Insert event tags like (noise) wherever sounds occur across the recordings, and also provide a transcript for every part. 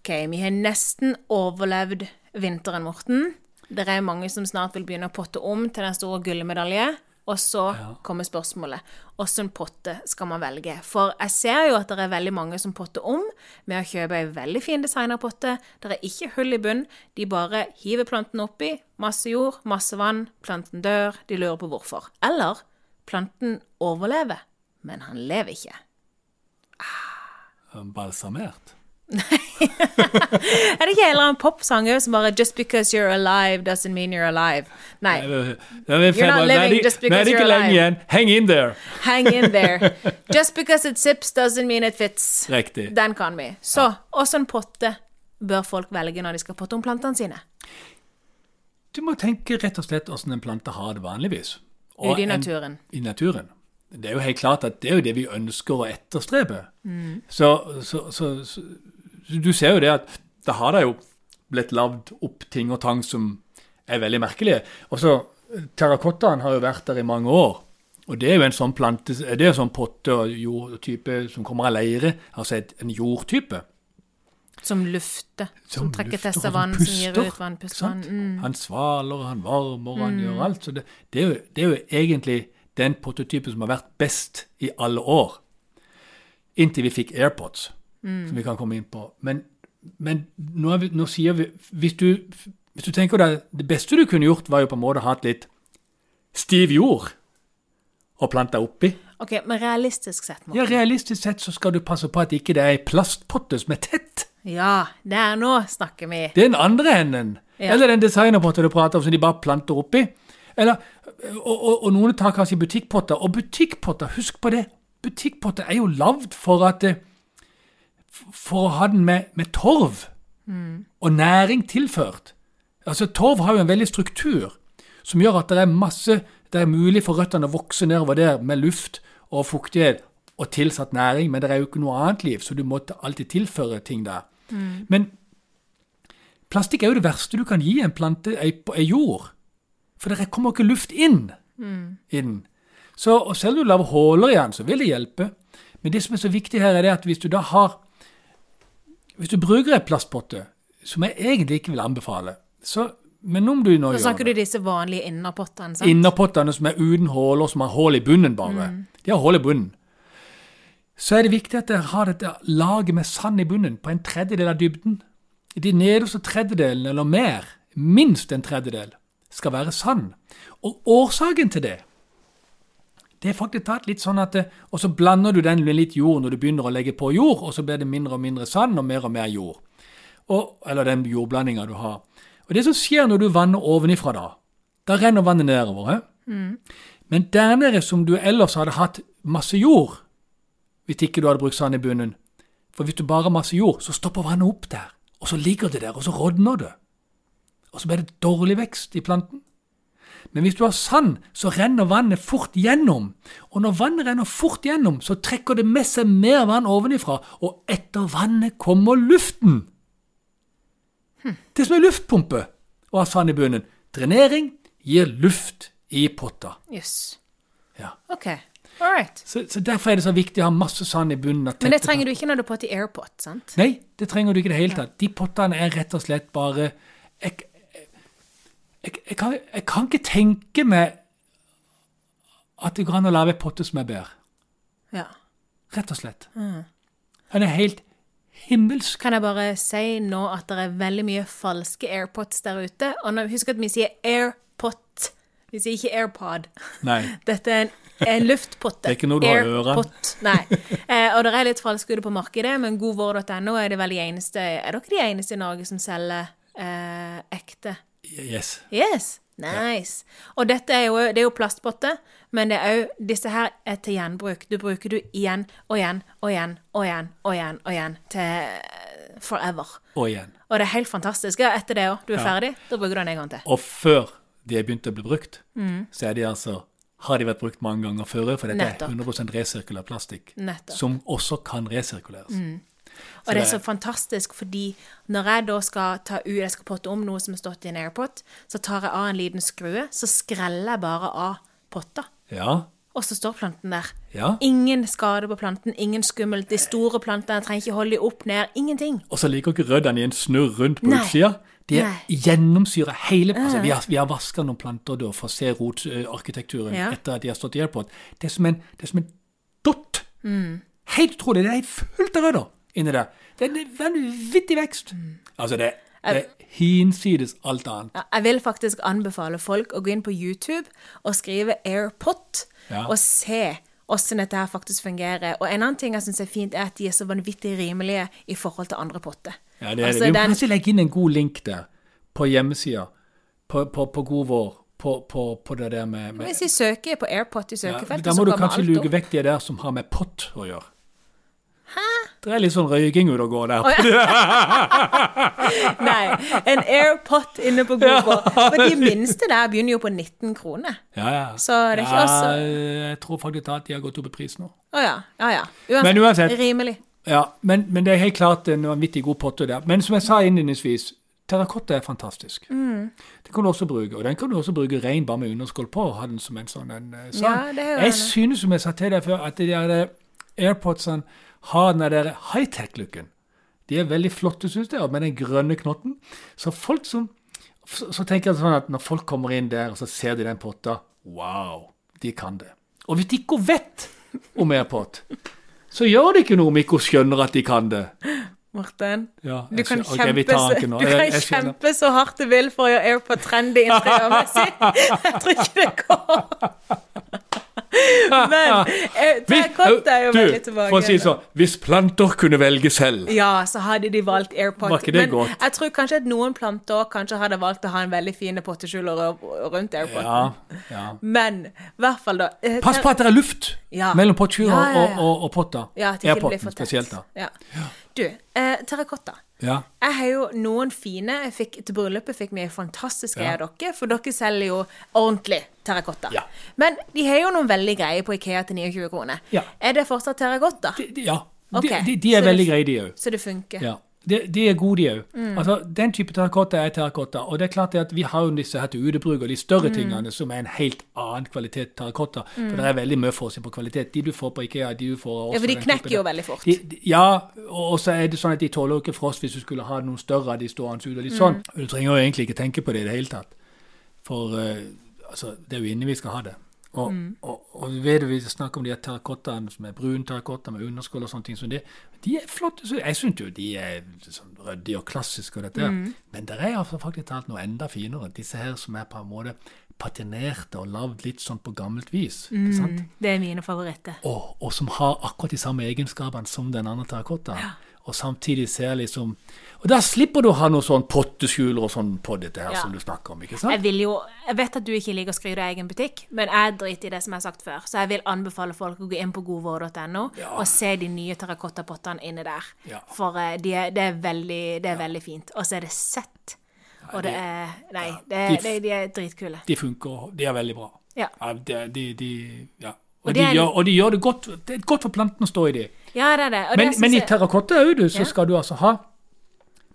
OK, vi har nesten overlevd vinteren, Morten. Det er mange som snart vil begynne å potte om til den store gullmedalje. Og så kommer spørsmålet hvordan potte skal man velge? For jeg ser jo at det er veldig mange som potter om med å kjøpe ei veldig fin designerpotte. Det er ikke hull i bunnen. De bare hiver planten oppi. Masse jord, masse vann. Planten dør. De lurer på hvorfor. Eller planten overlever, men han lever ikke. eh, Balsamert. Er det ikke en eller annen popsang også som bare 'Just because you're alive doesn't mean you're alive'? Nei. Det er You're not living just because Nei, det er you're ikke lenge alive. igjen. Hang in there! Hang in there. Just because it sips doesn't mean it fits. Riktig. Den kan vi. Så åssen potte bør folk velge når de skal potte om plantene sine? Du må tenke rett og slett hvordan en plante har det vanligvis. Og Ute i en- naturen. I naturen. Det er jo helt klart at det er jo det vi ønsker å etterstrebe. Mm. Så, så, så, så du ser jo det at det har da jo blitt lagd opp ting og tang som er veldig merkelige. Og så Terrakottaen har jo vært der i mange år. Og det er jo en sånn plante, det er jo sånn potte- og jordtype som kommer av leire, altså et, en jordtype. Som lufter. Som, trekker lufter til og seg vann, som gir puster, ut vann, puster ikke sant? vann. Mm. Han svaler, han varmer, han gjør alt. Så det, det, er jo, det er jo egentlig den prototypen som har vært best i alle år. Inntil vi fikk AirPods, Mm. som vi kan komme inn på. Men, men nå, er vi, nå sier vi hvis du, hvis du tenker deg Det beste du kunne gjort, var jo på en måte å ha hatt litt stiv jord og planta oppi. OK, men realistisk sett, Morten. Ja, realistisk sett så skal du passe på at ikke det er ei plastpotte som er tett. Ja, der nå snakker vi. Det er den andre enden. Ja. Eller den designerpotta du prater om som de bare planter oppi. Eller, og, og, og noen tar kanskje butikkpotter. Og butikkpotter, husk på det, butikkpotter er jo lagd for at eh, f- For å ha den med, med torv og næring tilført. Altså, torv har jo en veldig struktur som gjør at det er masse Det er mulig for røttene å vokse nedover der med luft og fuktighet og tilsatt næring, men det er jo ikke noe annet liv, så du må alltid tilføre ting der. Men Plastikk er jo det verste du kan gi en plante ei, på ei jord. For det kommer ikke luft inn. Mm. i den. Så og selv om du lager huller i den, så vil det hjelpe. Men det som er så viktig her, er det at hvis du da har Hvis du bruker ei plastpotte, som jeg egentlig ikke vil anbefale, så Men om du nå Da gjør snakker det du disse vanlige innerpottene, sant? Innerpottene som er uten huller, som har hull i bunnen bare. De har hull i bunnen. Så er det viktig at dere har dette laget med sand i bunnen på en tredjedel av dybden. I de nederste tredjedelen eller mer, minst en tredjedel, skal være sand. Og årsaken til det det er faktisk tatt litt sånn at det, Og så blander du den med litt jord når du begynner å legge på jord, og så blir det mindre og mindre sand og mer og mer jord. Og, eller den jordblandinga du har. Og det som skjer når du vanner ovenifra da, da renner vannet nedover. he? Men der nede som du ellers hadde hatt masse jord, hvis ikke du hadde brukt sand i bunnen For hvis du bare har masse jord, så stopper vannet opp der. Og så ligger det der, og så rådner det. Og så blir det dårlig vekst i planten. Men hvis du har sand, så renner vannet fort gjennom. Og når vannet renner fort gjennom, så trekker det med seg mer vann ovenifra, og etter vannet kommer luften. Det som er luftpumpe og har sand i bunnen. Drenering gir luft i potta. Jøss. Ja. OK. All right. Så, så derfor er det så viktig å ha masse sand i bunnen. av Men det tette trenger du ikke når du potter i airpot, sant? Nei, det trenger du ikke i det hele tatt. De pottene er rett og slett bare Jeg, jeg, jeg, kan, jeg kan ikke tenke meg at det går an å lage en potte som er bedre. Ja. Rett og slett. Mm. Den er helt himmelsk. Kan jeg bare si nå at det er veldig mye falske airpots der ute? Og nå, husk at vi sier airpot. Vi sier ikke airpod. Nei. (laughs) Dette er en, en luftpotte. Det er ikke noe du har i ørene. Airpot. Nei. Eh, og det er litt falske ute på markedet, men godvår.no er det vel de eneste Er dere de eneste i Norge som selger eh, ekte? Yes. Yes, nice. Og dette er jo, det er jo plastpotte, men det er jo, disse her er til gjenbruk. Du bruker du igjen og igjen og igjen og igjen og igjen og igjen til forever. Og igjen. Og det er helt fantastisk. Ja, etter det òg. Du er Ja. ferdig, da bruker du den en gang til. Og før de er begynt å bli brukt, Mm. så er de altså, har de vært brukt mange ganger før, for dette Nettopp. er 100 resirkulær plastikk, Nettopp. Mm. som også kan resirkuleres. Og det er det- så fantastisk fordi når jeg da skal ta ut, jeg skal potte om noe som har stått i en airpot, så tar jeg av en liten skrue, så skreller jeg bare av potta. Ja, Og så står planten der. Ja. Ingen skade på planten, ingen skummelt. De store plantene trenger ikke holde de opp ned. Ingenting. Og så ligger ikke røddene i en snurr rundt på Nei. utsida. Det Nei. Eh. gjennomsyrer hele altså, Vi har, vi har vaska noen planter da for å se rotarkitekturen Ja. etter at de har stått i hjel på den. Det er som en, det er som en dott. Mm. Helt utrolig. Det er fullt av rødder inni der. Det er en vanvittig vekst. Mm. Altså, det, det er hinsides alt annet. Ja, jeg vil faktisk anbefale folk å gå inn på YouTube og skrive AirPot Ja. og se hvordan dette her faktisk fungerer. Og en annen ting jeg syns er fint, er at de er så vanvittig rimelige i forhold til andre potter. Ja, det er Altså, det. Vi må den- kanskje legge inn en god link der, på hjemmesida, på, på, på God vår, på, på, på det der med, med Hvis de søker på AirPot i Ja, søkefeltet, Da så må du kommer kanskje alt luke opp. vekk de der som har med pott å gjøre. Hæ? Det er litt sånn røyking ute og går der. (laughs) Nei, en AirPot inne på Google. For de minste der begynner jo på 19 kroner. Ja, ja. Så det er ikke ja, også- Altså, Jeg tror faktisk at de har gått opp i pris nå. Å ja. Ja ja. Uansett. Men uansett- Rimelig. Ja, men, men det er helt klart en vanvittig god potte der. Men som jeg sa innledningsvis, terrakotta er fantastisk. Mm. Den kan du også bruke, og den kan du også bruke rein bare med underskål på, og ha den som en sånn en eh, sånn. Ja, det er jo jeg det. synes, som jeg sa til deg før, at de der eh, AirPodsene har den der high-tech-looken. De er veldig flotte, synes jeg, og med den grønne knotten. Så folk som så, så tenker jeg sånn at når folk kommer inn der, og så ser de den potta, wow, de kan det. Og hvis de ikke vet om AirPod, så gjør det ikke noe om ikke hun skjønner at de kan det. Morten. Ja, Du jeg kan, skjønner. Ok, vi kjempe, tar så, den ikke nå. du Jeg- kan jeg skjønner. kjempe så hardt du vil for å gjøre AirPod trendy interiørmessig. (laughs) Jeg tror ikke det går. Men (laughs) eh, terrakotta er jo du, veldig for å si tilbake. sånn, hvis planter kunne velge selv. Ja, så hadde de valgt AirPod. Var ikke det Men godt? jeg tror kanskje at noen planter også kanskje hadde valgt å ha en veldig fin potteskjuler rø- rundt AirPod. Ja, ja. Men i hvert fall, da. eh, Pass på at det er luft Ja. mellom pottskjuler Ja, ja, ja. og, og, og potter. Ja, at det ikke blir Airpotten for tett. spesielt da. Ja. Du, eh, terrakotta. Ja. Jeg har jo noen fine jeg fikk, Til bryllupet fikk vi fantastiske Ja. av dere, for dere selger jo ordentlig terrakotta. Ja. Men de har jo noen veldig greie på Ikea til 29 kroner. Ja. Er det fortsatt terrakotta? De, de, ja. Ok, De, de, de så er det- veldig greie de også. Så det funker. Ja. De, de er gode de også. Mm. Altså, den type terrakotta er terrakotta, og det er klart det at vi har jo disse her til udebruk og de større Mm. tingene som er en helt annen kvalitet terrakotta, for det er veldig mye forskjell på kvalitet. De du får på IKEA, de du får også Ja, for de den type knekker jo der. veldig fort. De, de- ja, og og så er det sånn at de tåler jo ikke frost hvis du skulle ha noen større av de stående ute. og litt sånn. Du trenger jo egentlig ikke tenke på det i det hele tatt. For eh, altså, det er jo inne vi skal ha det. Og, og, og ved vi snakker om de her terrakottaene som er brun terrakotta med underskål og sånne ting som det, de er flotte. Så jeg syns jo de er sånn ryddige og klassiske og dette her. Men det er altså faktisk talt noe enda finere. Disse her som er på en måte patinerte og lagd litt sånn på gammelt vis. ikke sant? Det er mine favoritter. og, og som har akkurat de samme egenskapene som den andre terrakottaen. Og samtidig ser liksom Og da slipper du å ha noe sånn potteskjuler og sånn på dette her Ja. som du snakker om, ikke sant? Jeg vil jo, jeg vet at du ikke liker å skryte av egen butikk, men jeg driter i det som jeg har sagt før. Så jeg vil anbefale folk å gå inn på godvår.no Ja. og se de nye terrakottapottene inne der. Ja. For eh, de er, det, er veldig, det er veldig fint. Og så er det sett. Og det er Nei, det, De f- det, de er dritkule. De funker, og de er veldig bra. Ja. de, de, de, ja. Og, Og det de er- gjør, og de gjør det godt. Det er godt for planten å stå i de. Ja, det er det. Og Men, det men synes i jeg- terrakotta òg, du, så Ja. skal du altså ha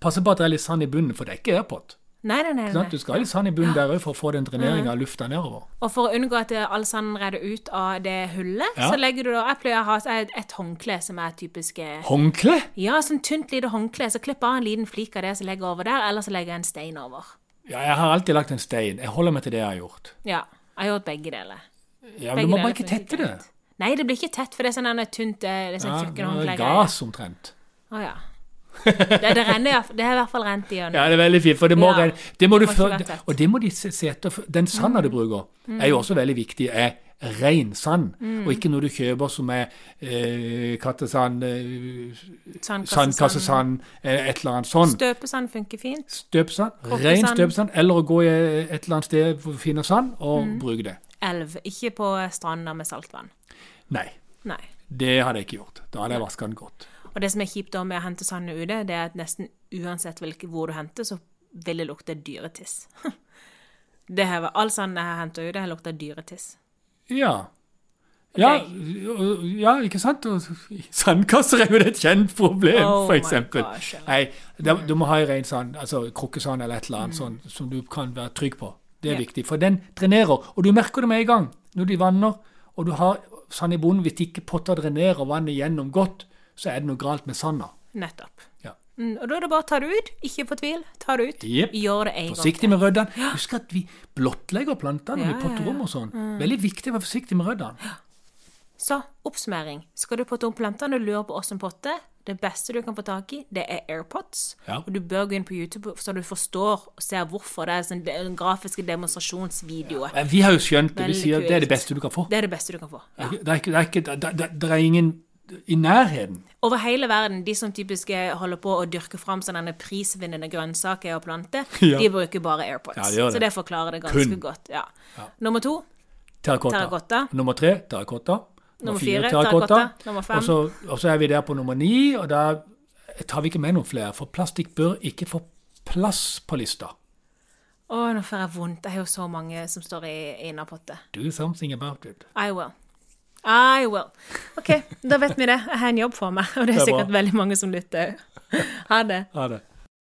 Passe på at det er litt sand i bunnen, for det er ikke airpot. Nei, nei, nei, Mm. nei. ikke sant? Sånn Du skal ha litt sand i bunnen der òg for å få den dreneringa av lufta nedover. Og for å unngå at eh, all sanden renner ut av det hullet, Ja. så legger du da Jeg pleier å ha et, et håndkle som er typisk eh, Håndkle? Ja, sånn tynt lite håndkle. Så klipp av en liten flik av det som ligger over der, eller så legger jeg en stein over. Ja, jeg har alltid lagt en stein. Jeg holder meg til det jeg har gjort. Ja. Jeg har gjort begge deler. Ja, men Begge du må deler bare ikke funker tette det. greit. Nei, det blir ikke tett, for det er sånn en tynt eh, det er sånn Ja, tjukke det er håndklegreier. gass omtrent. Å ja. Det, det renner i hvert fall- Det har i hvert fall rent igjennom. Ja, det er veldig fint, for det må, Ja. renne- det må du Det må ikke før, være tett. Mm. og det må de se se etter. for Den sanda du bruker, er jo også veldig viktig, er ren sand, Mm. og ikke noe du kjøper som er eh, kattesand, eh, Sandkasse, sandkassesand, eh, et eller annet sånn. Støpesand funker fint. Støpsand, Kokkesand. ren støpsand, eller å gå i eh, et eller annet sted hvor du finner sand, og Mm. bruke det. Elv. Ikke på stranda med saltvann. Nei, Nei. det hadde jeg ikke gjort. Da hadde jeg vasket den godt. Og det som er kjipt da med å hente sand ute, det er at nesten uansett hvilke, hvor du henter, så vil det lukte dyretiss. (laughs) Det her, var- all sanden jeg har henta ute, har lukta dyretiss. Ja. Ja, ja, ikke sant? Og Sandkasser er jo et kjent problem, Oh for my eksempel. gosh, ja. Mm. Nei, da, du må ha i ren sand, altså krukkesand eller et eller annet sånn, som du kan være trygg på. Det er Ja. viktig, for den drenerer, og du merker det med en gang når de vanner, og du har sand i bunnen, hvis ikke potta drenerer vannet gjennom godt, så er det noe galt med sanda. Nettopp. Ja. Mm, og da er det bare å ta det ut. Ikke fortvil. Ta det ut. Jep. Gjør det en gang. Forsiktig med røddene. Husk at vi blottlegger plantene Ja, med ja, Mm. ja. potterom og sånn. Veldig viktig å være forsiktig med røddene. Så oppsummering. Skal du potte om plantene og lure på åssen potte, det beste du kan få tak i, det er AirPods. Ja. Og du bør gå inn på YouTube så du forstår og ser hvorfor. Det er sånn de- den grafiske demonstrasjonsvideoer. Men Vi har jo skjønt det. Vi Veldig sier at det er det kult. beste du kan få. Det er det beste du kan få. Det er ikke- det er, ikke, det er, ikke, det, det, det er ingen i nærheten. Over hele verden, de som typisk eh, holder på å dyrke fram sånne prisvinnende grønnsaker og planter, (laughs) Ja. de bruker bare AirPods. Ja, de gjør Så det. det forklarer det ganske Kun. godt. Ja. Nummer to Terrakotta. Terrakotta. Nummer tre terrakotta. Nummer fire, terrakotta. Nummer fem. Og så, og så er vi der på nummer ni, og da tar vi ikke med noen flere. For plastikk bør ikke få plass på lista. Å, nå får jeg vondt. Jeg har jo så mange som står i innerpotte. Do something about it. I will. I will. OK, da vet vi det. Jeg har en jobb for meg, og det er Det er bra. sikkert veldig mange som lytter òg. Ha det. Ha det.